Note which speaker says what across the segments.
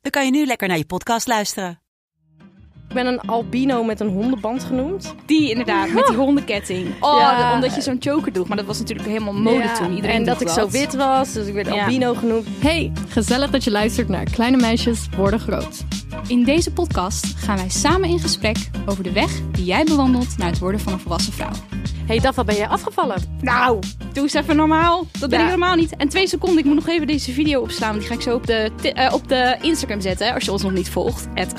Speaker 1: dan kan je nu lekker naar je podcast luisteren.
Speaker 2: Ik ben een albino met een hondenband genoemd.
Speaker 3: Die inderdaad, met die hondenketting. Oh,
Speaker 2: Ja.
Speaker 3: dat- omdat je zo'n choker droeg. Maar dat was natuurlijk helemaal mode toen. Iedereen
Speaker 2: en dat ik
Speaker 3: droeg
Speaker 2: zo wit was, dus ik werd
Speaker 3: Ja.
Speaker 2: albino genoemd.
Speaker 4: Hey, gezellig dat je luistert naar Kleine Meisjes Worden Groot.
Speaker 3: In deze podcast gaan wij samen in gesprek over de weg die jij bewandelt naar het worden van een volwassen vrouw.
Speaker 2: hey, Dafa, ben jij afgevallen?
Speaker 3: Nou, doe eens even normaal. Dat ben
Speaker 2: Ja.
Speaker 3: ik normaal niet. En twee seconden, ik moet nog even deze video opslaan. want Die ga ik zo op de, ti- eh, op de Instagram zetten. Als je ons nog niet volgt. Het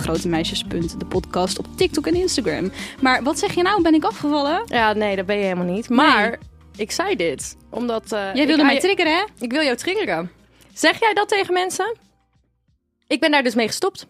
Speaker 3: de podcast op TikTok en Instagram. Maar wat zeg je nou? Ben ik afgevallen?
Speaker 2: Ja, nee, dat ben je helemaal niet. Maar ik zei dit, omdat... eh,
Speaker 3: Jij wilde
Speaker 2: ik,
Speaker 3: mij
Speaker 2: ah,
Speaker 3: triggeren, hè?
Speaker 2: Ik wil jou triggeren. Zeg jij dat tegen mensen? Ik ben daar dus mee gestopt.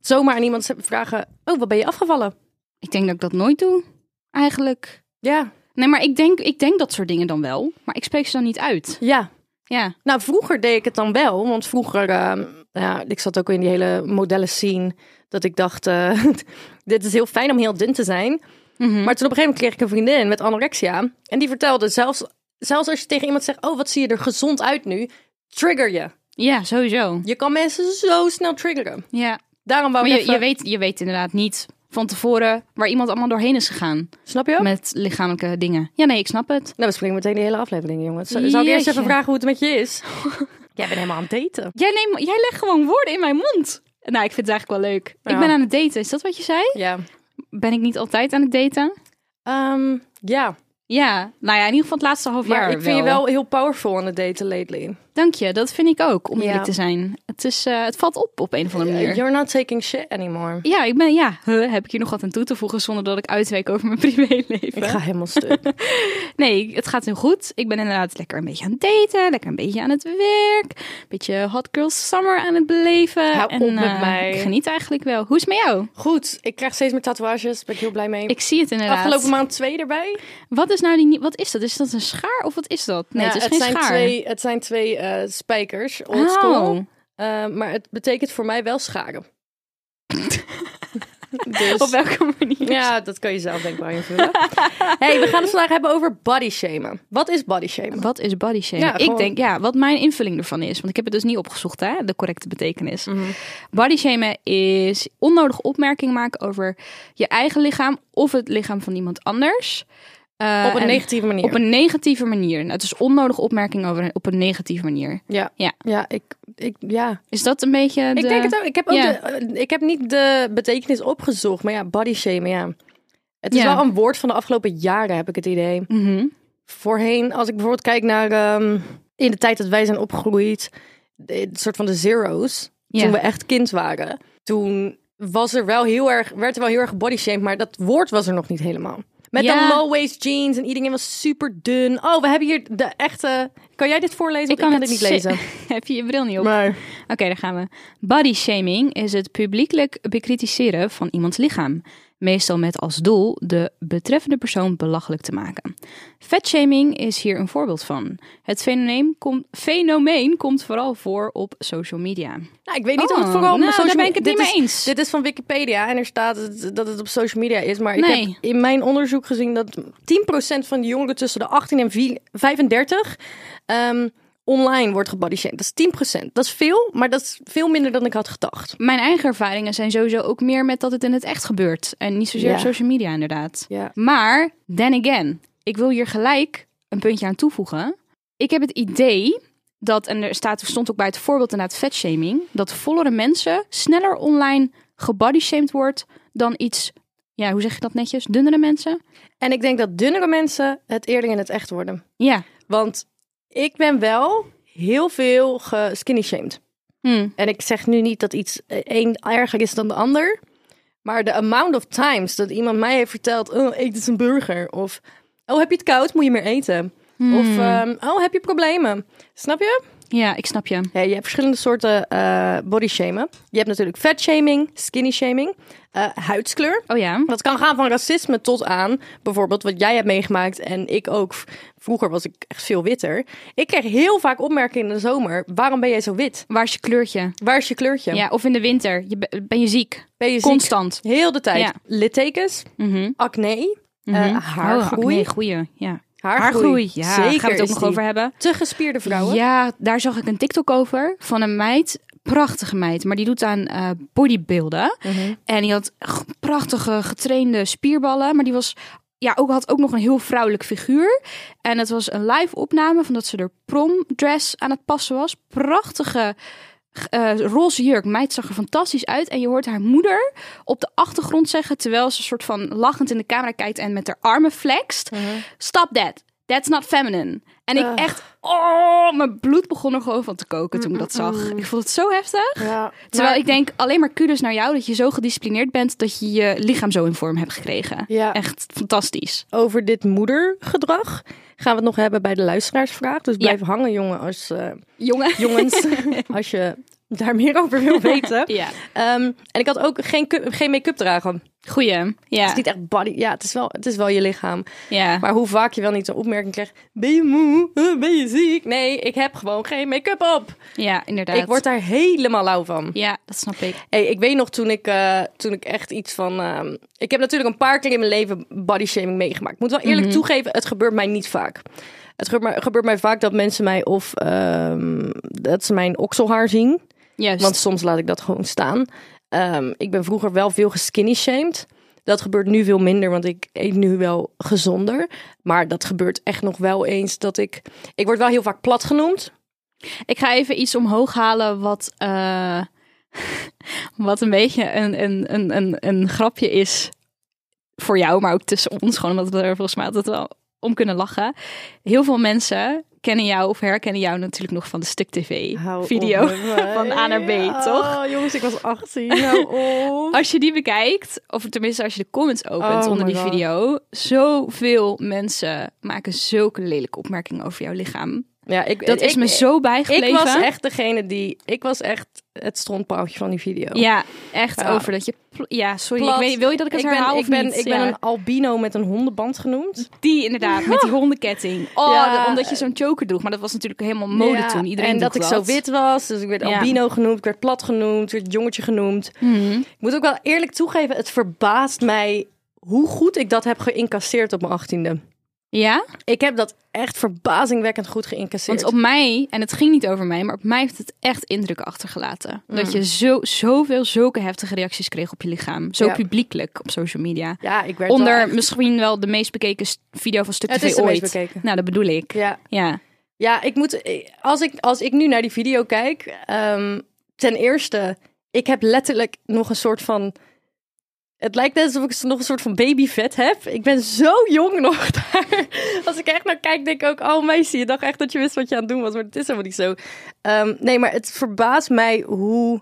Speaker 2: Zomaar aan iemand vragen, oh, wat ben je afgevallen?
Speaker 3: Ik denk dat ik dat nooit doe. Eigenlijk.
Speaker 2: Ja,
Speaker 3: Nee, maar ik denk, ik denk dat soort dingen dan wel. Maar ik spreek ze dan niet uit.
Speaker 2: ja.
Speaker 3: Ja.
Speaker 2: Nou, vroeger deed ik het dan wel. Want vroeger, ehm, ja, ik zat ook in die hele modellen scene. Dat ik dacht, eh, dit is heel fijn om heel dun te zijn.
Speaker 3: Mhm.
Speaker 2: Maar toen op een gegeven moment kreeg ik een vriendin met anorexia. En die vertelde, zelfs, zelfs als je tegen iemand zegt... Oh, wat zie je er gezond uit nu? Trigger je.
Speaker 3: Ja, sowieso.
Speaker 2: Je kan mensen zo snel triggeren.
Speaker 3: Ja.
Speaker 2: Daarom wou
Speaker 3: Maar
Speaker 2: ik
Speaker 3: je,
Speaker 2: even...
Speaker 3: je, weet, je weet inderdaad niet van tevoren waar iemand allemaal doorheen is gegaan.
Speaker 2: Snap je?
Speaker 3: Met lichamelijke dingen. Ja, nee, ik snap het.
Speaker 2: Nou, we springen meteen de hele aflevering, jongens. Zal zal ik eerst
Speaker 3: Jeetje.
Speaker 2: even vragen hoe het met je is? Jij bent helemaal aan het daten.
Speaker 3: Jij, neemt, jij legt gewoon woorden in mijn mond. Nou, ik vind het eigenlijk wel leuk.
Speaker 2: Ja.
Speaker 3: Ik ben aan het daten, is dat wat je zei?
Speaker 2: Ja.
Speaker 3: Ben ik niet altijd aan het daten?
Speaker 2: Ehm, ja,
Speaker 3: Ja, nou ja, in ieder geval het laatste half
Speaker 2: maar
Speaker 3: jaar
Speaker 2: ik vind je wel heel powerful aan het daten lately.
Speaker 3: Dank je, dat vind ik ook, om
Speaker 2: Ja.
Speaker 3: eerlijk te zijn. Het, is, eh, het valt op op een of andere manier.
Speaker 2: Uh, You're not taking shit anymore.
Speaker 3: Ja, ik ben, ja, huh, heb ik hier nog wat aan toe te voegen zonder dat ik uitweek over mijn privéleven?
Speaker 2: Ik ga helemaal stuk.
Speaker 3: Nee, het gaat heel goed. Ik ben inderdaad lekker een beetje aan het daten, lekker een beetje aan het werk, een beetje hot girl summer aan het beleven.
Speaker 2: Hou op met
Speaker 3: eh,
Speaker 2: mij.
Speaker 3: Ik geniet eigenlijk wel. Hoe is het met jou?
Speaker 2: Goed, ik krijg steeds meer tatoeages. Daar ben ik heel blij mee.
Speaker 3: Ik zie het inderdaad.
Speaker 2: Afgelopen maand twee erbij.
Speaker 3: Wat is nou die? nie- Wat is dat? Is dat een schaar of wat is dat? Nee,
Speaker 2: Ja,
Speaker 3: het is
Speaker 2: het,
Speaker 3: geen
Speaker 2: zijn
Speaker 3: schaar.
Speaker 2: Twee, het zijn twee eh, spijkers, old school.
Speaker 3: Oh.
Speaker 2: Eh, maar het betekent voor mij wel scharen. dus,
Speaker 3: Op welke manier?
Speaker 2: ja, dat kan je zelf denk ik wel invullen. hey, we gaan het vandaag hebben over body shamen. Wat is body shamen?
Speaker 3: Wat is body shaming?
Speaker 2: Ja, gewoon-
Speaker 3: Ik denk, ja, wat mijn invulling ervan is. Want ik heb het dus niet opgezocht, hè, de correcte betekenis. Body shaming is onnodig opmerking maken over je eigen lichaam of het lichaam van iemand anders. Eh,
Speaker 2: Op een
Speaker 3: en-
Speaker 2: negatieve manier.
Speaker 3: Op een negatieve manier. Nou, het is onnodige opmerking over op een negatieve manier.
Speaker 2: Ja,
Speaker 3: Ja.
Speaker 2: ja, ik, ik, ja.
Speaker 3: Is dat een beetje. De...
Speaker 2: Ik denk het ook. Ik heb, ook
Speaker 3: Ja.
Speaker 2: de, eh, ik heb niet de betekenis opgezocht, maar ja, body shaming, ja. Het is
Speaker 3: Ja.
Speaker 2: wel een woord van de afgelopen jaren, heb ik het idee.
Speaker 3: Mhm.
Speaker 2: Voorheen, als ik bijvoorbeeld kijk naar ehm, in de tijd dat wij zijn opgegroeid, de- het soort van de zero's,
Speaker 3: Ja.
Speaker 2: toen we echt kind waren, toen was er wel heel erg, werd er wel heel erg body shamed, maar dat woord was er nog niet helemaal. Met
Speaker 3: Ja.
Speaker 2: de low-waist jeans en iedereen was super dun. Oh, we hebben hier de echte. Kan jij dit voorlezen? Want ik kan dit niet
Speaker 3: zi-
Speaker 2: lezen.
Speaker 3: Heb je je bril niet op?
Speaker 2: Maar
Speaker 3: Oké, daar gaan we. Body shaming is het publiekelijk bekritiseren van iemands lichaam. Meestal met als doel de betreffende persoon belachelijk te maken. Vetshaming is hier een voorbeeld van. Het fenomeen, komt fenomeen komt vooral voor op social media.
Speaker 2: Nou, ik weet niet of het
Speaker 3: Oh,
Speaker 2: vooral op
Speaker 3: nou,
Speaker 2: social
Speaker 3: daar ben
Speaker 2: me-
Speaker 3: ik het
Speaker 2: dit
Speaker 3: niet
Speaker 2: is-
Speaker 3: mee eens.
Speaker 2: Dit is van Wikipedia en er staat het- dat het op social media is. Maar ik heb
Speaker 3: Nee.
Speaker 2: in mijn onderzoek gezien dat 10% van de jongeren tussen de 18 en vi- 35 ehm, online wordt gebodyshamed. Dat is 10%. Dat is veel, maar dat is veel minder dan ik had gedacht.
Speaker 3: Mijn eigen ervaringen zijn sowieso ook meer met dat het in het echt gebeurt. En niet zozeer
Speaker 2: Ja.
Speaker 3: op social media inderdaad.
Speaker 2: Ja.
Speaker 3: Maar, then again, ik wil hier gelijk een puntje aan toevoegen. Ik heb het idee dat, en er staat, stond ook bij het voorbeeld inderdaad vetshaming, dat vollere mensen sneller online gebodyshamed wordt dan iets, ja, hoe zeg je dat netjes, dunnere mensen?
Speaker 2: En ik denk dat dunnere mensen het eerder in het echt worden.
Speaker 3: Ja.
Speaker 2: Want ik ben wel heel veel geskinny shamed.
Speaker 3: Hm.
Speaker 2: En ik zeg nu niet dat iets eh, één erger is dan de ander. Maar de amount of times dat iemand mij heeft verteld... Oh, eet eens een burger. Of, oh, heb je het koud? Moet je meer eten? Of, ehm, oh, heb je problemen? Snap je?
Speaker 3: Ja, ik snap je.
Speaker 2: Ja, je hebt verschillende soorten eh body shamen. Je hebt natuurlijk fat shaming, skinny shaming, eh, huidskleur.
Speaker 3: Oh ja.
Speaker 2: Dat kan gaan van racisme tot aan bijvoorbeeld wat jij hebt meegemaakt en ik ook. V- Vroeger was ik echt veel witter. Ik kreeg heel vaak opmerkingen in de zomer. Waarom ben jij zo wit?
Speaker 3: Waar is je kleurtje?
Speaker 2: Waar is je kleurtje?
Speaker 3: Ja, of in de winter. Je, be- ben je ziek?
Speaker 2: ben je ziek?
Speaker 3: Constant.
Speaker 2: Heel de tijd.
Speaker 3: Ja.
Speaker 2: Littekens,
Speaker 3: Mhm.
Speaker 2: acne, eh,
Speaker 3: Oh,
Speaker 2: haargroei.
Speaker 3: nee, goeie. Ja.
Speaker 2: haargroei.
Speaker 3: Ja,
Speaker 2: Zeker
Speaker 3: gaan we het ook
Speaker 2: is
Speaker 3: nog
Speaker 2: die.
Speaker 3: over hebben.
Speaker 2: Te gespierde vrouwen.
Speaker 3: Ja, daar zag ik een TikTok over van een meid. Prachtige meid, maar die doet aan eh bodybuilden. En die had g- prachtige getrainde spierballen, maar die was ja, ook, had ook nog een heel vrouwelijk figuur. En het was een live opname van dat ze er promdress aan het passen was. Prachtige eh, roze jurk. Meid zag er fantastisch uit. En je hoort haar moeder op de achtergrond zeggen, terwijl ze een soort van lachend in de camera kijkt en met haar armen flext. Stop that. That's not feminine. En ik echt, oh, mijn bloed begon er gewoon van te koken toen ik dat zag. Ik vond het zo heftig.
Speaker 2: Ja.
Speaker 3: Terwijl ik denk, alleen maar kudos naar jou dat je zo gedisciplineerd bent dat je je lichaam zo in vorm hebt gekregen.
Speaker 2: Ja.
Speaker 3: Echt fantastisch.
Speaker 2: over dit moedergedrag gaan we het nog hebben bij de luisteraarsvraag. Dus blijf hangen, jongen, als, eh,
Speaker 3: Jongen.
Speaker 2: jongens, als je daar meer over wil weten.
Speaker 3: Ja.
Speaker 2: Ehm, en ik had ook geen, cu- geen make-up dragen.
Speaker 3: Goeie.
Speaker 2: Het
Speaker 3: Ja.
Speaker 2: is niet echt body. Ja, het is, wel, het is wel je lichaam.
Speaker 3: ja.
Speaker 2: Maar hoe vaak je wel niet zo'n opmerking krijgt. Ben je moe? Huh, Ben je ziek? Nee, ik heb gewoon geen make-up op.
Speaker 3: ja, inderdaad.
Speaker 2: Ik word daar helemaal lauw van.
Speaker 3: Ja, dat snap ik.
Speaker 2: Hey, ik weet nog toen ik, eh, toen ik echt iets van. ehm, ik heb natuurlijk een paar keer in mijn leven body shaming meegemaakt. Ik moet wel eerlijk toegeven, het gebeurt mij niet vaak. Het gebeurt mij, gebeurt mij vaak dat mensen mij of ehm, dat ze mijn okselhaar zien.
Speaker 3: Juist.
Speaker 2: Want soms laat ik dat gewoon staan. Ehm, ik ben vroeger wel veel geskinny shamed. Dat gebeurt nu veel minder, want ik eet nu wel gezonder. Maar dat gebeurt echt nog wel eens dat ik. Ik word wel heel vaak plat genoemd.
Speaker 3: Ik ga even iets omhoog halen wat, eh, wat een beetje een, een, een, een, een grapje is voor jou, maar ook tussen ons. Gewoon omdat we er volgens mij altijd wel om kunnen lachen. Heel veel mensen kennen jou of herkennen jou natuurlijk nog van de Stuk TV video van A naar B, toch?
Speaker 2: Oh, jongens, ik was 18.
Speaker 3: Als je die bekijkt, of tenminste als je de comments opent
Speaker 2: Oh
Speaker 3: onder
Speaker 2: my
Speaker 3: die
Speaker 2: God.
Speaker 3: video, zoveel mensen maken zulke lelijke opmerkingen over jouw lichaam.
Speaker 2: Ja, ik,
Speaker 3: Dat
Speaker 2: ik-
Speaker 3: is me
Speaker 2: ik-
Speaker 3: zo bijgebleven.
Speaker 2: Ik was echt degene die. Ik was echt het strontpaaltje van die video.
Speaker 3: Ja, echt
Speaker 2: Ja.
Speaker 3: over dat je. pl- Ja, sorry.
Speaker 2: Plat.
Speaker 3: Ik weet, wil je dat ik het
Speaker 2: ben,
Speaker 3: herhaal
Speaker 2: ik
Speaker 3: of
Speaker 2: ben,
Speaker 3: niet?
Speaker 2: Ik ben
Speaker 3: Ja.
Speaker 2: een albino met een hondenband genoemd.
Speaker 3: die inderdaad met die hondenketting. Oh,
Speaker 2: Ja.
Speaker 3: dat- omdat je zo'n choker droeg, maar dat was natuurlijk helemaal mode
Speaker 2: Ja,
Speaker 3: toen. Iedereen
Speaker 2: en
Speaker 3: droeg
Speaker 2: dat ik zo wit was, dus ik werd
Speaker 3: Ja.
Speaker 2: albino genoemd, ik werd plat genoemd, ik werd jongetje genoemd.
Speaker 3: Mhm.
Speaker 2: Ik moet ook wel eerlijk toegeven, het verbaast mij hoe goed ik dat heb geïncasseerd op mijn achttiende.
Speaker 3: Ja,
Speaker 2: Ik heb dat echt verbazingwekkend goed geïncasseerd.
Speaker 3: want op mij en het ging niet over mij, maar op mij heeft het echt indruk achtergelaten.
Speaker 2: Mm.
Speaker 3: Dat je zo zoveel zulke heftige reacties kreeg op je lichaam, zo
Speaker 2: Ja.
Speaker 3: publiekelijk op social media.
Speaker 2: ja, ik werd
Speaker 3: Onder
Speaker 2: wel echt-
Speaker 3: misschien wel de meest bekeken s- video van Stuk
Speaker 2: Het
Speaker 3: TV
Speaker 2: is de
Speaker 3: ooit.
Speaker 2: meest bekeken.
Speaker 3: Nou, dat bedoel ik.
Speaker 2: Ja.
Speaker 3: Ja.
Speaker 2: Ja, ik moet. Als ik, als ik nu naar die video kijk. ehm, ten eerste, ik heb letterlijk nog een soort van. Het lijkt net alsof ik nog een soort van babyvet heb. Ik ben zo jong nog daar. Als ik echt naar kijk, denk ik ook... Oh meisje, je dacht echt dat je wist wat je aan het doen was. Maar het is helemaal niet zo. Ehm, nee, maar het verbaast mij hoe...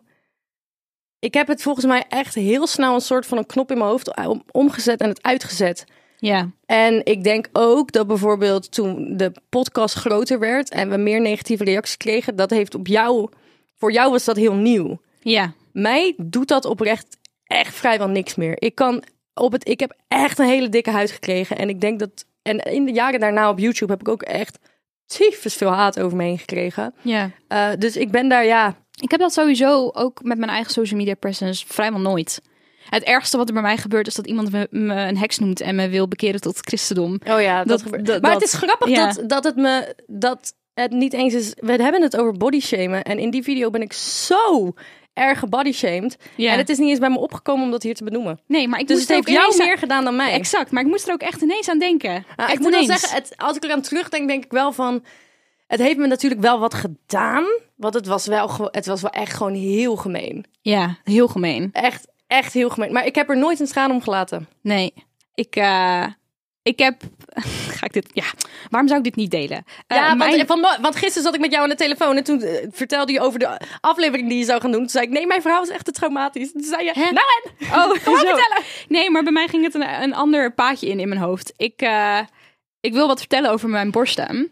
Speaker 2: Ik heb het volgens mij echt heel snel een soort van een knop in mijn hoofd om- omgezet en het uitgezet.
Speaker 3: Ja.
Speaker 2: En ik denk ook dat bijvoorbeeld toen de podcast groter werd en we meer negatieve reacties kregen, dat heeft op jou, voor jou was dat heel nieuw.
Speaker 3: Ja.
Speaker 2: Mij doet dat oprecht echt vrijwel niks meer. Ik kan op het, ik heb echt een hele dikke huid gekregen en ik denk dat, en in de jaren daarna op YouTube heb ik ook echt tyfus veel haat over me heen gekregen.
Speaker 3: Ja.
Speaker 2: Eh, dus ik ben daar, ja,
Speaker 3: Ik heb dat sowieso ook met mijn eigen social media presence vrijwel nooit. Het ergste wat er bij mij gebeurt is dat iemand me, me een heks noemt en me wil bekeren tot het christendom.
Speaker 2: Oh ja, dat,
Speaker 3: Dat-
Speaker 2: gebeurt.
Speaker 3: dat-
Speaker 2: maar
Speaker 3: dat-
Speaker 2: het is grappig
Speaker 3: ja.
Speaker 2: dat, dat het me dat het niet eens is. We hebben het over bodyshamen en in die video ben ik zo erg gebodyshamed.
Speaker 3: Ja.
Speaker 2: En het is niet eens bij me opgekomen om dat hier te benoemen.
Speaker 3: Nee, maar ik
Speaker 2: Dus
Speaker 3: moest
Speaker 2: het
Speaker 3: er
Speaker 2: heeft
Speaker 3: ook
Speaker 2: jou
Speaker 3: ineens aan-
Speaker 2: meer gedaan dan mij.
Speaker 3: Exact, maar ik moest er ook echt ineens aan denken.
Speaker 2: Ah,
Speaker 3: echt
Speaker 2: ik moet wel
Speaker 3: ineens.
Speaker 2: zeggen, het, als ik eraan terugdenk, denk ik wel van. Het heeft me natuurlijk wel wat gedaan. Want het was wel, ge- het was wel echt gewoon heel gemeen.
Speaker 3: Ja, heel gemeen.
Speaker 2: Echt, echt heel gemeen. Maar ik heb er nooit een traan om gelaten.
Speaker 3: Nee, ik, eh, ik heb... Ga ik dit... Ja, waarom zou ik dit niet delen? Eh,
Speaker 2: Ja, want-
Speaker 3: mijn-
Speaker 2: want, want, gisteren zat ik met jou aan de telefoon en toen eh, vertelde je over de aflevering die je zou gaan doen. Toen zei ik, nee, mijn verhaal is echt te traumatisch. Toen zei je,
Speaker 3: Hè?
Speaker 2: nou en?
Speaker 3: Oh,
Speaker 2: Kom maar
Speaker 3: zo.
Speaker 2: vertellen.
Speaker 3: Nee, maar bij mij ging het een, een ander paadje in in mijn hoofd. Ik, eh, ik wil wat vertellen over mijn borsten.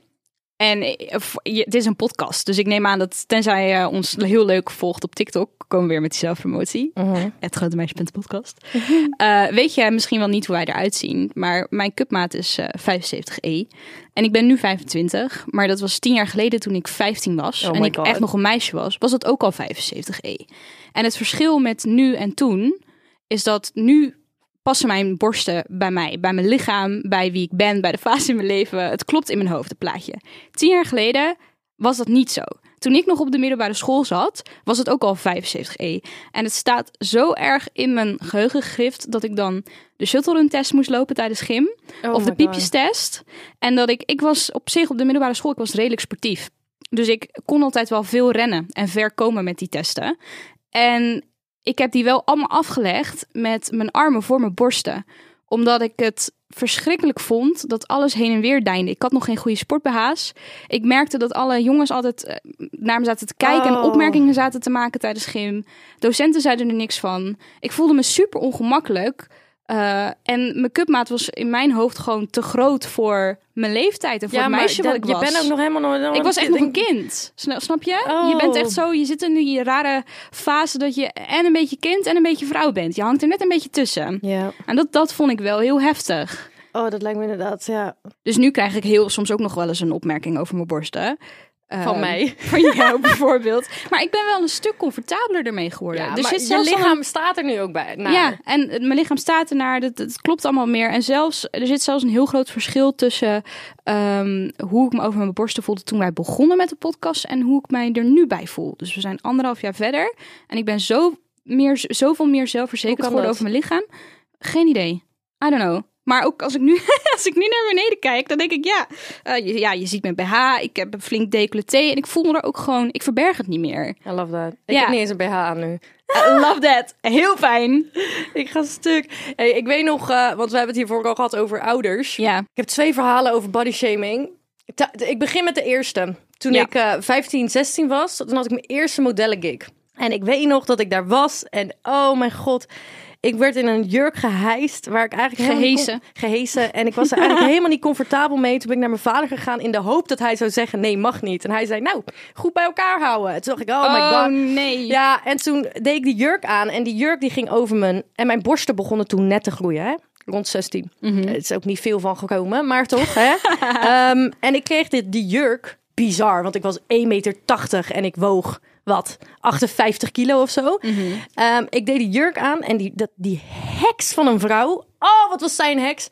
Speaker 3: En eh, v- je- het is een podcast, dus ik neem aan dat tenzij je ons heel leuk volgt op TikTok, komen we weer met die zelfpromotie.
Speaker 2: Mhm.
Speaker 3: Het grote meisje.podcast. Eh weet je misschien wel niet hoe wij eruit zien, maar mijn cupmaat is eh, 75E. En ik ben nu 25, maar dat was 10 jaar geleden toen ik 15 was.
Speaker 2: Oh
Speaker 3: en
Speaker 2: my
Speaker 3: ik
Speaker 2: God.
Speaker 3: echt nog een meisje was, was dat ook al 75E. En het verschil met nu en toen is dat nu passen mijn borsten bij mij, bij mijn lichaam, bij wie ik ben, bij de fase in mijn leven. Het klopt in mijn hoofd, het plaatje. Tien jaar geleden was dat niet zo. Toen ik nog op de middelbare school zat, was het ook al 75e. En het staat zo erg in mijn geheugen gegrift dat ik dan de shuttle-run-test moest lopen tijdens gym.
Speaker 2: Oh
Speaker 3: of de piepjestest. En dat ik, ik was op zich op de middelbare school, ik was redelijk sportief. Dus ik kon altijd wel veel rennen en ver komen met die testen. En ik heb die wel allemaal afgelegd met mijn armen voor mijn borsten. Omdat ik het verschrikkelijk vond dat alles heen en weer deinde. Ik had nog geen goede sportbehaas. Ik merkte dat alle jongens altijd eh, naar me zaten te kijken en
Speaker 2: Oh.
Speaker 3: opmerkingen zaten te maken tijdens gym. Docenten zeiden er niks van. Ik voelde me super ongemakkelijk. Eh, en mijn cupmaat was in mijn hoofd gewoon te groot voor mijn leeftijd en voor het meisje wat ik
Speaker 2: je
Speaker 3: was.
Speaker 2: bent ook nog helemaal nooit.
Speaker 3: Ik was echt nog een kind. Sna- Snap je? Je bent
Speaker 2: Oh.
Speaker 3: echt zo, je zit in die rare fase dat je en een beetje kind en een beetje vrouw bent. Je hangt er net een beetje tussen.
Speaker 2: Ja.
Speaker 3: En dat, dat vond ik wel heel heftig.
Speaker 2: Oh, dat lijkt me inderdaad. Ja.
Speaker 3: Dus nu krijg ik heel soms ook nog wel eens een opmerking over mijn borsten.
Speaker 2: Van
Speaker 3: Ehm,
Speaker 2: mij.
Speaker 3: Van jou bijvoorbeeld. Maar ik ben wel een stuk comfortabeler ermee geworden.
Speaker 2: Ja,
Speaker 3: dus
Speaker 2: maar
Speaker 3: zit
Speaker 2: je
Speaker 3: zelfs al een-
Speaker 2: lichaam staat er nu ook bij. Nou, naar.
Speaker 3: Ja, en het- mijn lichaam staat ernaar. Dat, dat klopt allemaal meer. En zelfs, er zit zelfs een heel groot verschil tussen ehm, hoe ik me over mijn borsten voelde toen wij begonnen met de podcast en hoe ik mij er nu bij voel. Dus we zijn anderhalf jaar verder en ik ben zo meer, zoveel meer zelfverzekerd
Speaker 2: Hoe kan
Speaker 3: geworden
Speaker 2: dat?
Speaker 3: over mijn lichaam. Geen idee. I don't know. Maar ook als ik nu, als ik nu naar beneden kijk, dan denk ik ja, eh, je- ja, je ziet mijn BH, ik heb een flink decolleté en ik voel me er ook gewoon, ik verberg het niet meer.
Speaker 2: I love that. Ik
Speaker 3: Ja.
Speaker 2: heb niet eens een BH aan nu.
Speaker 3: I love that. Heel fijn.
Speaker 2: Ik ga stuk. Hey, ik weet nog, eh, want we hebben het hiervoor ook al gehad over ouders.
Speaker 3: Ja.
Speaker 2: Ik heb twee verhalen over bodyshaming. Ta- Ik begin met de eerste. Toen
Speaker 3: Ja.
Speaker 2: ik eh 15, 16 was, toen had ik mijn eerste modellengig. En ik weet nog dat ik daar was. En oh mijn god, ik werd in een jurk gehijst. Waar ik eigenlijk helemaal niet
Speaker 3: Gehesen.
Speaker 2: kon- gehesen. En ik was er eigenlijk helemaal niet comfortabel mee. Toen ben ik naar mijn vader gegaan in de hoop dat hij zou zeggen, nee, mag niet. En hij zei, nou, goed bij elkaar houden. En toen dacht ik, oh my god.
Speaker 3: nee.
Speaker 2: Ja, en toen deed ik die jurk aan en die jurk die ging over mijn... En mijn borsten begonnen toen net te groeien, hè? Rond 16. Het is ook niet veel van gekomen, maar toch, hè? Ehm, en ik kreeg dit, die jurk, bizar, want ik was 1,80 meter en ik woog, wat, 58 kilo of zo. Ehm, ik deed die jurk aan en die, dat, die heks van een vrouw... Oh, wat was zij een heks?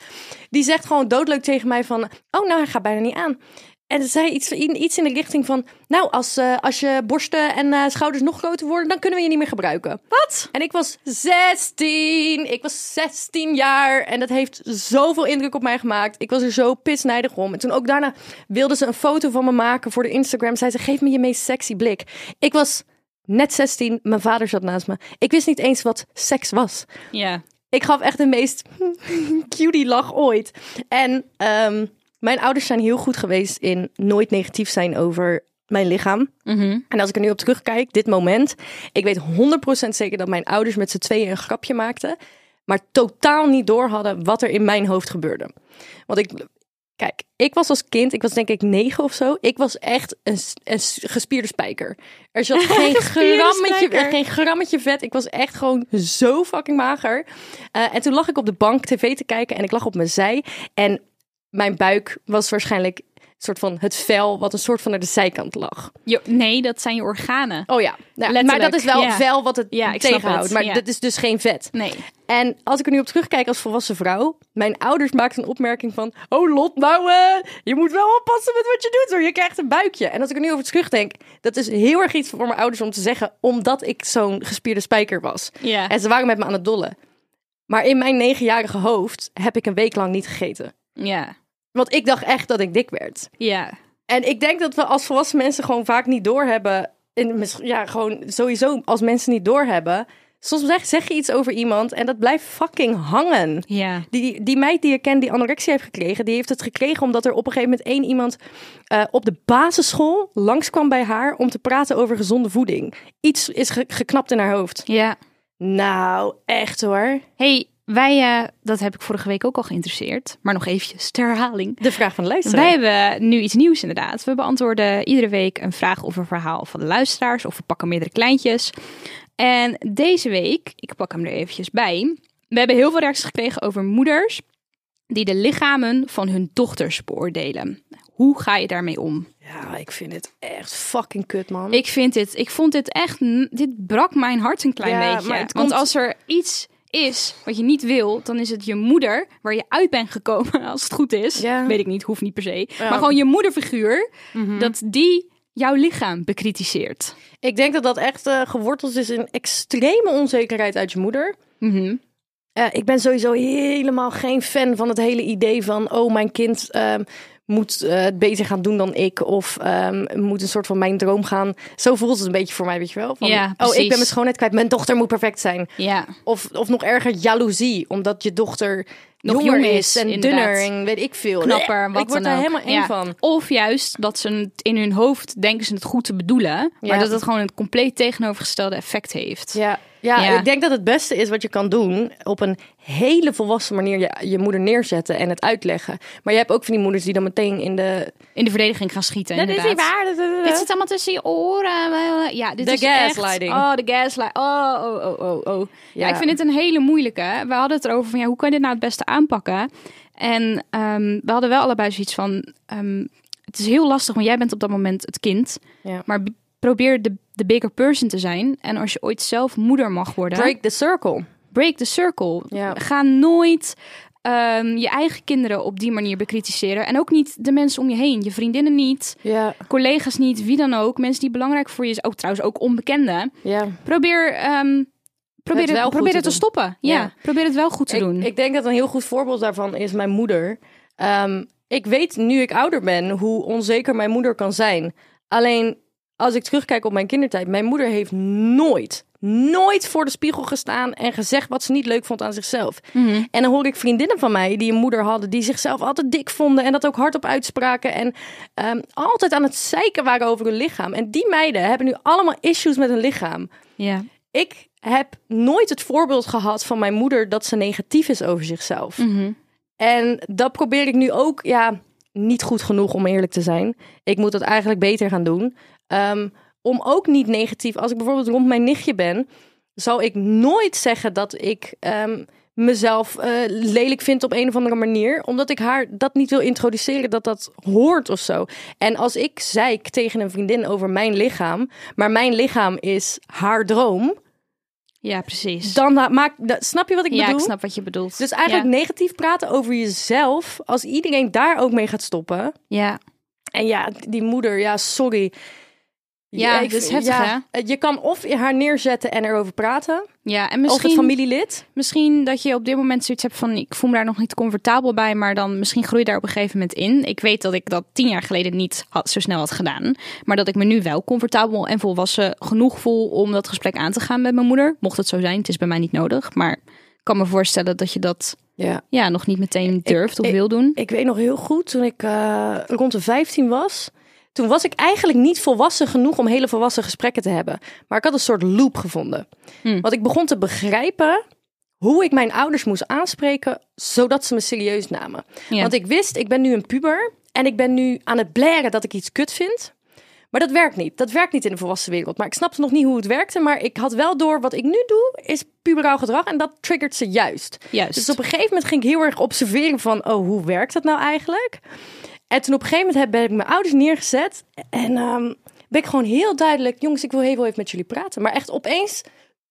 Speaker 2: Die zegt gewoon doodleuk tegen mij van... Oh, nou, hij gaat bijna niet aan. En ze zei iets, iets in de richting van... Nou, als, eh, als je borsten en eh, schouders nog groter worden... dan kunnen we je niet meer gebruiken. Wat? En ik was 16. Ik was 16 jaar. En dat heeft zoveel indruk op mij gemaakt. Ik was er zo pisnijdig om. En toen ook daarna wilde ze een foto van me maken voor de Instagram. Zei ze, geef me je meest sexy blik. Ik was net 16. Mijn vader zat naast me. Ik wist niet eens wat seks was.
Speaker 3: Ja.
Speaker 2: Ik gaf echt de meest cutie lach ooit. En ehm, mijn ouders zijn heel goed geweest in nooit negatief zijn over mijn lichaam. En als ik er nu op terugkijk, dit moment. Ik weet 100% zeker dat mijn ouders met z'n tweeën een grapje maakten. Maar totaal niet door hadden wat er in mijn hoofd gebeurde. Want ik, Kijk, ik was als kind, ik was denk ik negen of zo. Ik was echt een, s- een s- gespierde spijker. Er zat geen grammetje,
Speaker 3: spijker.
Speaker 2: er geen grammetje vet. Ik was echt gewoon zo fucking mager. Eh, en toen lag ik op de bank tv te kijken en ik lag op mijn zij. En mijn buik was waarschijnlijk een soort van het vel wat een soort van naar de zijkant lag.
Speaker 3: Jo, nee, dat zijn je organen.
Speaker 2: Oh ja, Ja, maar
Speaker 3: Letterlijk,
Speaker 2: dat is wel
Speaker 3: ja.
Speaker 2: vel wat het
Speaker 3: Ja, ik snap
Speaker 2: tegenhoudt.
Speaker 3: het,
Speaker 2: Maar
Speaker 3: ja.
Speaker 2: dat is dus geen vet.
Speaker 3: Nee.
Speaker 2: En als ik er nu op terugkijk als volwassen vrouw, mijn ouders maakten een opmerking van: Oh Lot, nou, eh, je moet wel oppassen met wat je doet hoor, je krijgt een buikje. En als ik er nu over terugdenk, dat is heel erg iets voor mijn ouders om te zeggen, omdat ik zo'n gespierde spijker was.
Speaker 3: Ja.
Speaker 2: En ze waren met me aan het dollen. Maar in mijn negenjarige hoofd heb ik een week lang niet gegeten.
Speaker 3: Ja.
Speaker 2: Want ik dacht echt dat ik dik werd.
Speaker 3: Ja.
Speaker 2: En ik denk dat we als volwassen mensen gewoon vaak niet doorhebben. En mis- ja, gewoon sowieso als mensen niet doorhebben. Soms zeg, zeg je iets over iemand en dat blijft fucking hangen.
Speaker 3: Ja.
Speaker 2: Die, die, die meid die ik ken die anorexia heeft gekregen, die heeft het gekregen omdat er op een gegeven moment één iemand eh, op de basisschool langskwam bij haar om te praten over gezonde voeding. Iets is ge- geknapt in haar hoofd.
Speaker 3: Ja.
Speaker 2: Nou, echt hoor.
Speaker 3: Hey, Wij, eh, dat heb ik vorige week ook al geïnteresseerd, maar nog eventjes ter herhaling.
Speaker 2: De vraag van de luisteraar.
Speaker 3: Wij hebben nu iets nieuws inderdaad. We beantwoorden iedere week een vraag of een verhaal van de luisteraars of we pakken meerdere kleintjes. En deze week, ik pak hem er eventjes bij. We hebben heel veel reacties gekregen over moeders die de lichamen van hun dochters beoordelen. Hoe ga je daarmee om?
Speaker 2: Ja, ik vind het echt fucking kut, man.
Speaker 3: Ik vind dit, ik vond dit echt, dit brak mijn hart een klein
Speaker 2: Ja,
Speaker 3: beetje.
Speaker 2: maar het
Speaker 3: Want
Speaker 2: komt-
Speaker 3: als er iets is wat je niet wil, dan is het je moeder waar je uit bent gekomen, als het goed is.
Speaker 2: Ja.
Speaker 3: Weet ik niet, hoeft niet per se.
Speaker 2: Ja. Mhm.
Speaker 3: Maar gewoon je moederfiguur, dat die jouw lichaam bekritiseert.
Speaker 2: Ik denk dat dat echt eh, geworteld is in extreme onzekerheid uit je moeder.
Speaker 3: Mhm.
Speaker 2: Eh, ik ben sowieso helemaal geen fan van het hele idee van... oh, mijn kind ehm, moet eh, het beter gaan doen dan ik... of ehm, moet een soort van mijn droom gaan. Zo voelt het een beetje voor mij, weet je wel? Van,
Speaker 3: Ja,
Speaker 2: oh,
Speaker 3: precies.
Speaker 2: ik ben mijn schoonheid kwijt, mijn dochter moet perfect zijn.
Speaker 3: Ja.
Speaker 2: Of, of nog erger, jaloezie, omdat je dochter
Speaker 3: Nog
Speaker 2: jonger
Speaker 3: jong
Speaker 2: is
Speaker 3: is,
Speaker 2: en
Speaker 3: inderdaad.
Speaker 2: dunner en weet ik veel. Eh,
Speaker 3: Knapper, wat
Speaker 2: ik word
Speaker 3: dan
Speaker 2: daar
Speaker 3: ook.
Speaker 2: helemaal eng
Speaker 3: Ja.
Speaker 2: van.
Speaker 3: Of juist dat ze het in hun hoofd denken ze het goed te bedoelen, maar
Speaker 2: Ja.
Speaker 3: dat het gewoon een compleet tegenovergestelde effect heeft.
Speaker 2: Ja, ja,
Speaker 3: Ja.
Speaker 2: ik denk dat het beste is wat je kan doen. Op een hele volwassen manier je, je moeder neerzetten en het uitleggen. Maar je hebt ook van die moeders die dan meteen in de...
Speaker 3: In de verdediging gaan schieten. inderdaad. Dit zit allemaal tussen je oren. Ja, dit
Speaker 2: De
Speaker 3: is echt-
Speaker 2: gaslighting.
Speaker 3: oh, de gaslighting. Oh, oh, oh, oh, oh. Ja.
Speaker 2: Ja.
Speaker 3: ik vind dit een hele moeilijke. We hadden het erover van, ja, hoe kan je dit nou het beste aanpakken? En ehm, we hadden wel allebei zoiets van, ehm, het is heel lastig, want jij bent op dat moment het kind.
Speaker 2: Ja.
Speaker 3: Maar b- probeer de, de bigger person te zijn. En als je ooit zelf moeder mag worden,
Speaker 2: Break the circle.
Speaker 3: break the circle.
Speaker 2: Ja.
Speaker 3: Ga nooit ehm, je eigen kinderen op die manier bekritiseren. En ook niet de mensen om je heen, je vriendinnen niet
Speaker 2: Ja,
Speaker 3: collega's niet, wie dan ook, mensen die belangrijk voor je is, ook trouwens ook onbekenden.
Speaker 2: ja.
Speaker 3: Probeer, ehm, probeer
Speaker 2: Het
Speaker 3: het,
Speaker 2: wel goed
Speaker 3: probeer
Speaker 2: te
Speaker 3: het te
Speaker 2: doen.
Speaker 3: stoppen. Ja.
Speaker 2: Ja.
Speaker 3: probeer het wel goed te
Speaker 2: Ik,
Speaker 3: doen.
Speaker 2: ik denk dat een heel goed voorbeeld daarvan is mijn moeder. Ehm, ik weet nu ik ouder ben hoe onzeker mijn moeder kan zijn. Alleen als ik terugkijk op mijn kindertijd, mijn moeder heeft nooit, nooit voor de spiegel gestaan en gezegd wat ze niet leuk vond aan zichzelf.
Speaker 3: Mhm.
Speaker 2: En dan hoor ik vriendinnen van mij die een moeder hadden die zichzelf altijd dik vonden en dat ook hardop uitspraken en ehm, altijd aan het zeiken waren over hun lichaam. En die meiden hebben nu allemaal issues met hun lichaam.
Speaker 3: ja.
Speaker 2: ik heb nooit het voorbeeld gehad van mijn moeder dat ze negatief is over zichzelf.
Speaker 3: Mm.
Speaker 2: En dat probeer ik nu ook, ja, niet goed genoeg om eerlijk te zijn. Ik moet dat eigenlijk beter gaan doen. Ehm, om ook niet negatief, als ik bijvoorbeeld rond mijn nichtje ben, zal ik nooit zeggen dat ik ehm, mezelf eh, lelijk vind op een of andere manier. Omdat ik haar dat niet wil introduceren, dat dat hoort of zo. En als ik zeik tegen een vriendin over mijn lichaam, maar mijn lichaam is haar droom,
Speaker 3: ja, precies.
Speaker 2: dan da- maak, da- snap je wat ik
Speaker 3: ja,
Speaker 2: bedoel?
Speaker 3: ik snap wat je bedoelt.
Speaker 2: Dus eigenlijk negatief praten over jezelf, als iedereen daar ook mee gaat stoppen.
Speaker 3: Ja, ja.
Speaker 2: En ja, die moeder, ja, sorry.
Speaker 3: Ja, dit is heftig,
Speaker 2: Je kan of haar neerzetten en erover praten,
Speaker 3: ja. en
Speaker 2: of het
Speaker 3: misschien,
Speaker 2: familielid.
Speaker 3: misschien dat je op dit moment zoiets hebt van, ik voel me daar nog niet comfortabel bij, maar dan misschien groei je daar op een gegeven moment in. Ik weet dat ik dat tien jaar geleden niet had, zo snel had gedaan, maar dat ik me nu wel comfortabel en volwassen genoeg voel om dat gesprek aan te gaan met mijn moeder. Mocht het zo zijn, het is bij mij niet nodig, maar ik kan me voorstellen dat je dat
Speaker 2: Ja.
Speaker 3: ja, nog niet meteen durft of
Speaker 2: ik-
Speaker 3: wil doen.
Speaker 2: Ik weet nog heel goed, toen ik eh, rond de 15 was, toen was ik eigenlijk niet volwassen genoeg om hele volwassen gesprekken te hebben. Maar ik had een soort loop gevonden.
Speaker 3: Hmm.
Speaker 2: Want ik begon te begrijpen hoe ik mijn ouders moest aanspreken, zodat ze me serieus namen.
Speaker 3: Ja.
Speaker 2: Want ik wist, ik ben nu een puber en ik ben nu aan het blaren dat ik iets kut vind. Maar dat werkt niet. Dat werkt niet in de volwassen wereld. Maar ik snapte nog niet hoe het werkte. Maar ik had wel door wat ik nu doe, is puberaal gedrag. En dat triggert ze juist.
Speaker 3: Juist.
Speaker 2: Dus op een gegeven moment ging ik heel erg observeren van... oh, hoe werkt dat nou eigenlijk? En toen op een gegeven moment heb- ben ik mijn ouders neergezet. En ehm, ben ik gewoon heel duidelijk... jongens, ik wil heel even met jullie praten. Maar echt opeens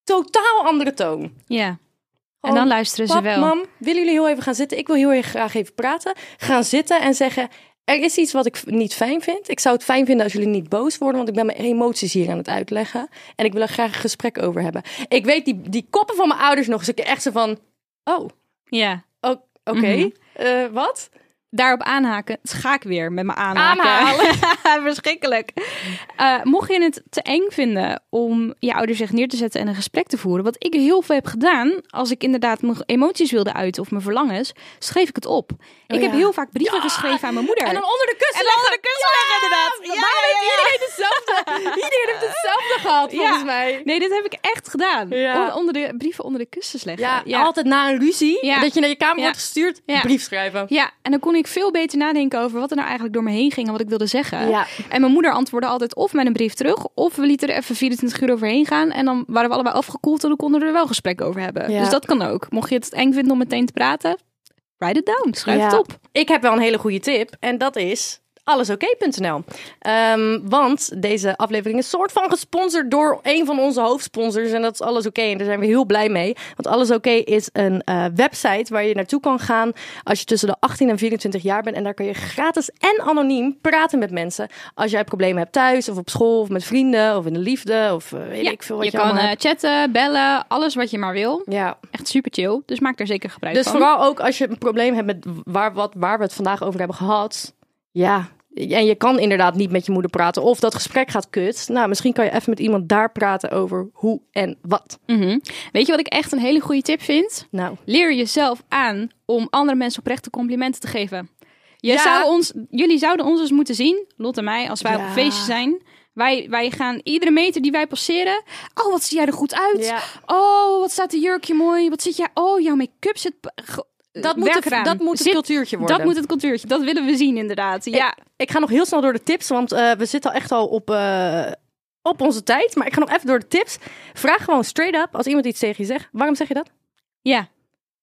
Speaker 2: totaal andere toon.
Speaker 3: ja. En
Speaker 2: Gewoon,
Speaker 3: dan luisteren ze
Speaker 2: Oh, Pap,
Speaker 3: Dus wel.
Speaker 2: mam, willen jullie heel even gaan zitten? Ik wil heel erg graag even praten. Gaan zitten en zeggen... Er is iets wat ik v- niet fijn vind. Ik zou het fijn vinden als jullie niet boos worden, want ik ben mijn emoties hier aan het uitleggen. En ik wil er graag een gesprek over hebben. Ik weet die, die koppen van mijn dus ouders nog eens een keer echt zo van. Oh,
Speaker 3: Ja.
Speaker 2: o- oké. Eh, wat?
Speaker 3: daarop aanhaken. Het ga ik weer met mijn aanhaken. Verschrikkelijk. Eh, mocht je het te eng vinden om je ouders echt neer te zetten en een gesprek te voeren, wat ik heel veel heb gedaan, als ik inderdaad mijn emoties wilde uiten of mijn verlangens, schreef ik het op. ik heb
Speaker 2: ja.
Speaker 3: heel vaak brieven geschreven aan mijn moeder.
Speaker 2: En dan onder de kussen
Speaker 3: Oh En dan onder de kussen leggen, inderdaad. Ja,
Speaker 2: Waarom
Speaker 3: ja,
Speaker 2: heeft
Speaker 3: ja.
Speaker 2: iedereen hetzelfde? iedereen heeft hetzelfde gehad, volgens
Speaker 3: Ja.
Speaker 2: mij.
Speaker 3: Nee, dit heb ik echt gedaan.
Speaker 2: Ja.
Speaker 3: Om- onder de brieven onder de kussens leggen.
Speaker 2: Ja, altijd na een ruzie,
Speaker 3: Ja.
Speaker 2: dat je naar je kamer
Speaker 3: Ja.
Speaker 2: wordt gestuurd,
Speaker 3: Ja.
Speaker 2: brief schrijven.
Speaker 3: Ja, en dan kon ik veel beter nadenken over wat er nou eigenlijk door me heen ging en wat ik wilde zeggen.
Speaker 2: Ja.
Speaker 3: En mijn moeder antwoordde altijd of met een brief terug, of we lieten er even 24 uur overheen gaan. En dan waren we allebei afgekoeld en dan konden we er wel gesprek over hebben.
Speaker 2: Ja.
Speaker 3: Dus dat kan ook. Mocht je het eng vinden om meteen te praten, write it down. Schrijf
Speaker 2: Ja.
Speaker 3: het op.
Speaker 2: Ik heb wel een hele goede tip en dat is allesoké.nl. Ehm, want deze aflevering is soort van gesponsord door een van onze hoofdsponsors en dat is Alles Oké. En daar zijn we heel blij mee. Want Alles Oké is een eh, website waar je naartoe kan gaan als je tussen de 18 en 24 jaar bent. En daar kan je gratis en anoniem praten met mensen. Als jij problemen hebt thuis of op school of met vrienden of in de liefde of eh, weet
Speaker 3: Ja,
Speaker 2: ik veel wat je,
Speaker 3: je kan
Speaker 2: allemaal
Speaker 3: eh,
Speaker 2: hebt.
Speaker 3: chatten, bellen, alles wat je maar wil.
Speaker 2: Ja,
Speaker 3: Echt super chill. Dus maak daar zeker gebruik
Speaker 2: dus
Speaker 3: van.
Speaker 2: vooral ook als je een probleem hebt met waar, wat, waar we het vandaag over hebben gehad. Ja, en je kan inderdaad niet met je moeder praten. Of dat gesprek gaat kut. Nou, misschien kan je even met iemand daar praten over hoe en wat.
Speaker 3: Mhm. Weet je wat ik echt een hele goede tip vind?
Speaker 2: Nou,
Speaker 3: leer jezelf aan om andere mensen oprechte complimenten te geven. Je
Speaker 2: Ja.
Speaker 3: zou ons, jullie zouden ons eens moeten zien, Lot en mij, als wij op
Speaker 2: Ja.
Speaker 3: een feestje zijn. Wij, wij gaan iedere meter die wij passeren. Oh, wat zie jij er goed uit?
Speaker 2: Ja.
Speaker 3: Oh, wat staat de jurkje mooi? Wat zit jij? Oh, jouw make-up zit.
Speaker 2: dat moet, het, dat moet het cultuurtje worden. Eh,
Speaker 3: Dat moet het cultuurtje. Dat willen we zien, inderdaad. Ja.
Speaker 2: Ik ga nog heel snel door de tips, want eh, we zitten al echt al op, eh, op onze tijd. Maar ik ga nog even door de tips. Vraag gewoon straight up als iemand iets tegen je zegt. Waarom zeg je dat?
Speaker 3: Ja.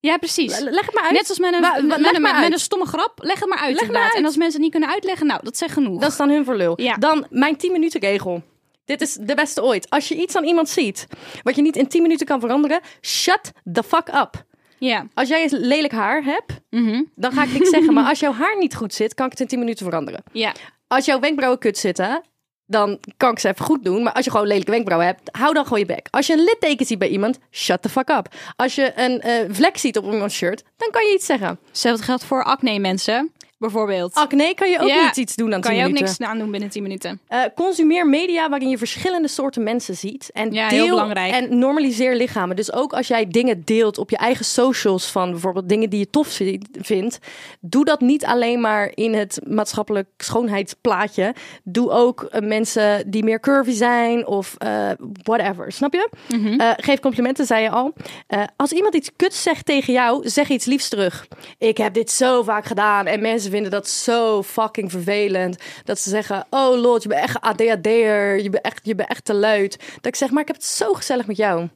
Speaker 3: Ja, precies.
Speaker 2: Le- Leg het maar uit.
Speaker 3: Net als met een,
Speaker 2: Wa- wa-
Speaker 3: met,
Speaker 2: leg
Speaker 3: een,
Speaker 2: maar
Speaker 3: met
Speaker 2: uit.
Speaker 3: een stomme grap. Leg het maar uit,
Speaker 2: maar
Speaker 3: inderdaad.
Speaker 2: uit.
Speaker 3: En als mensen het niet kunnen uitleggen, nou, dat zegt genoeg.
Speaker 2: Dat is dan hun voor lul.
Speaker 3: Ja.
Speaker 2: Dan mijn 10 minuten regel. Dit is de beste ooit. Als je iets aan iemand ziet wat je niet in 10 minuten kan veranderen, shut the fuck up.
Speaker 3: Ja.
Speaker 2: Als jij eens lelijk haar hebt,
Speaker 3: Mhm.
Speaker 2: dan ga ik niks zeggen. Maar als jouw haar niet goed zit, kan ik het in 10 minuten veranderen.
Speaker 3: Ja.
Speaker 2: Als jouw wenkbrauwen kut zitten, dan kan ik ze even goed doen. Maar als je gewoon lelijke wenkbrauwen hebt, hou dan gewoon je bek. Als je een litteken ziet bij iemand, shut the fuck up. Als je een eh, vlek ziet op iemands shirt, dan kan je iets zeggen.
Speaker 3: Hetzelfde Dus geldt voor acne mensen, bijvoorbeeld.
Speaker 2: Acne kan je ook
Speaker 3: Ja.
Speaker 2: niet iets doen aan 10
Speaker 3: kan je ook
Speaker 2: minuten.
Speaker 3: niks aan doen binnen 10 minuten.
Speaker 2: Eh, consumeer media waarin je verschillende soorten mensen ziet. En
Speaker 3: Ja, heel
Speaker 2: deel
Speaker 3: belangrijk.
Speaker 2: en normaliseer lichamen. Dus ook als jij dingen deelt op je eigen socials van bijvoorbeeld dingen die je tof zi- vindt. Doe dat niet alleen maar in het maatschappelijk schoonheidsplaatje. Doe ook eh, mensen die meer curvy zijn of eh, whatever. Snap je?
Speaker 3: Mhm.
Speaker 2: Eh, geef complimenten, zei je al. Eh, als iemand iets kuts zegt tegen jou, zeg iets liefs terug. Ik heb dit zo vaak gedaan en mensen vinden dat zo fucking vervelend. Dat ze zeggen, oh lord, je bent echt een ADHD'er, je bent echt, je bent echt te luid. Dat ik zeg, maar ik heb het zo gezellig met jou.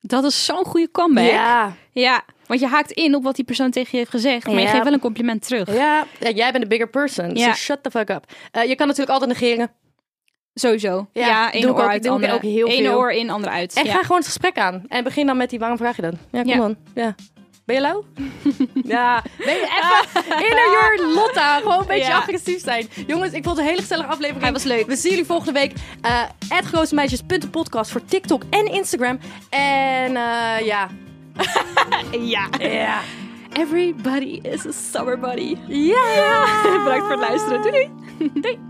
Speaker 3: Dat is zo'n goede comeback.
Speaker 2: Ja,
Speaker 3: Ja, want je haakt in op wat die persoon tegen je heeft gezegd, maar je
Speaker 2: Ja.
Speaker 3: geeft wel een compliment terug.
Speaker 2: ja. En jij bent de bigger person,
Speaker 3: Ja.
Speaker 2: so shut the fuck up. Eh, je kan natuurlijk altijd negeren.
Speaker 3: Sowieso. Ja,
Speaker 2: Ja,
Speaker 3: één
Speaker 2: doe ik
Speaker 3: oor
Speaker 2: ook-
Speaker 3: uit,
Speaker 2: doe ik
Speaker 3: andere.
Speaker 2: ook heel
Speaker 3: Eén
Speaker 2: veel.
Speaker 3: oor in, ander uit.
Speaker 2: En
Speaker 3: ja.
Speaker 2: ga gewoon het gesprek aan. En begin dan met die, waarom vraag je dat? Ja, kom
Speaker 3: Ja.
Speaker 2: dan. Ja. Ben je lauw? ja. Ben je even inner your Lotta. Gewoon een beetje
Speaker 3: Ah. Ja.
Speaker 2: agressief zijn. Jongens, ik vond het een hele gezellige aflevering.
Speaker 3: Hij was leuk.
Speaker 2: We zien jullie volgende week. Uh, @grootmeisjes.podcast voor TikTok en Instagram. En eh, ja.
Speaker 3: ja.
Speaker 2: Ja.
Speaker 3: Everybody is a summer buddy.
Speaker 2: Ja.
Speaker 3: Bedankt voor het luisteren. Doei doei.
Speaker 2: Doei.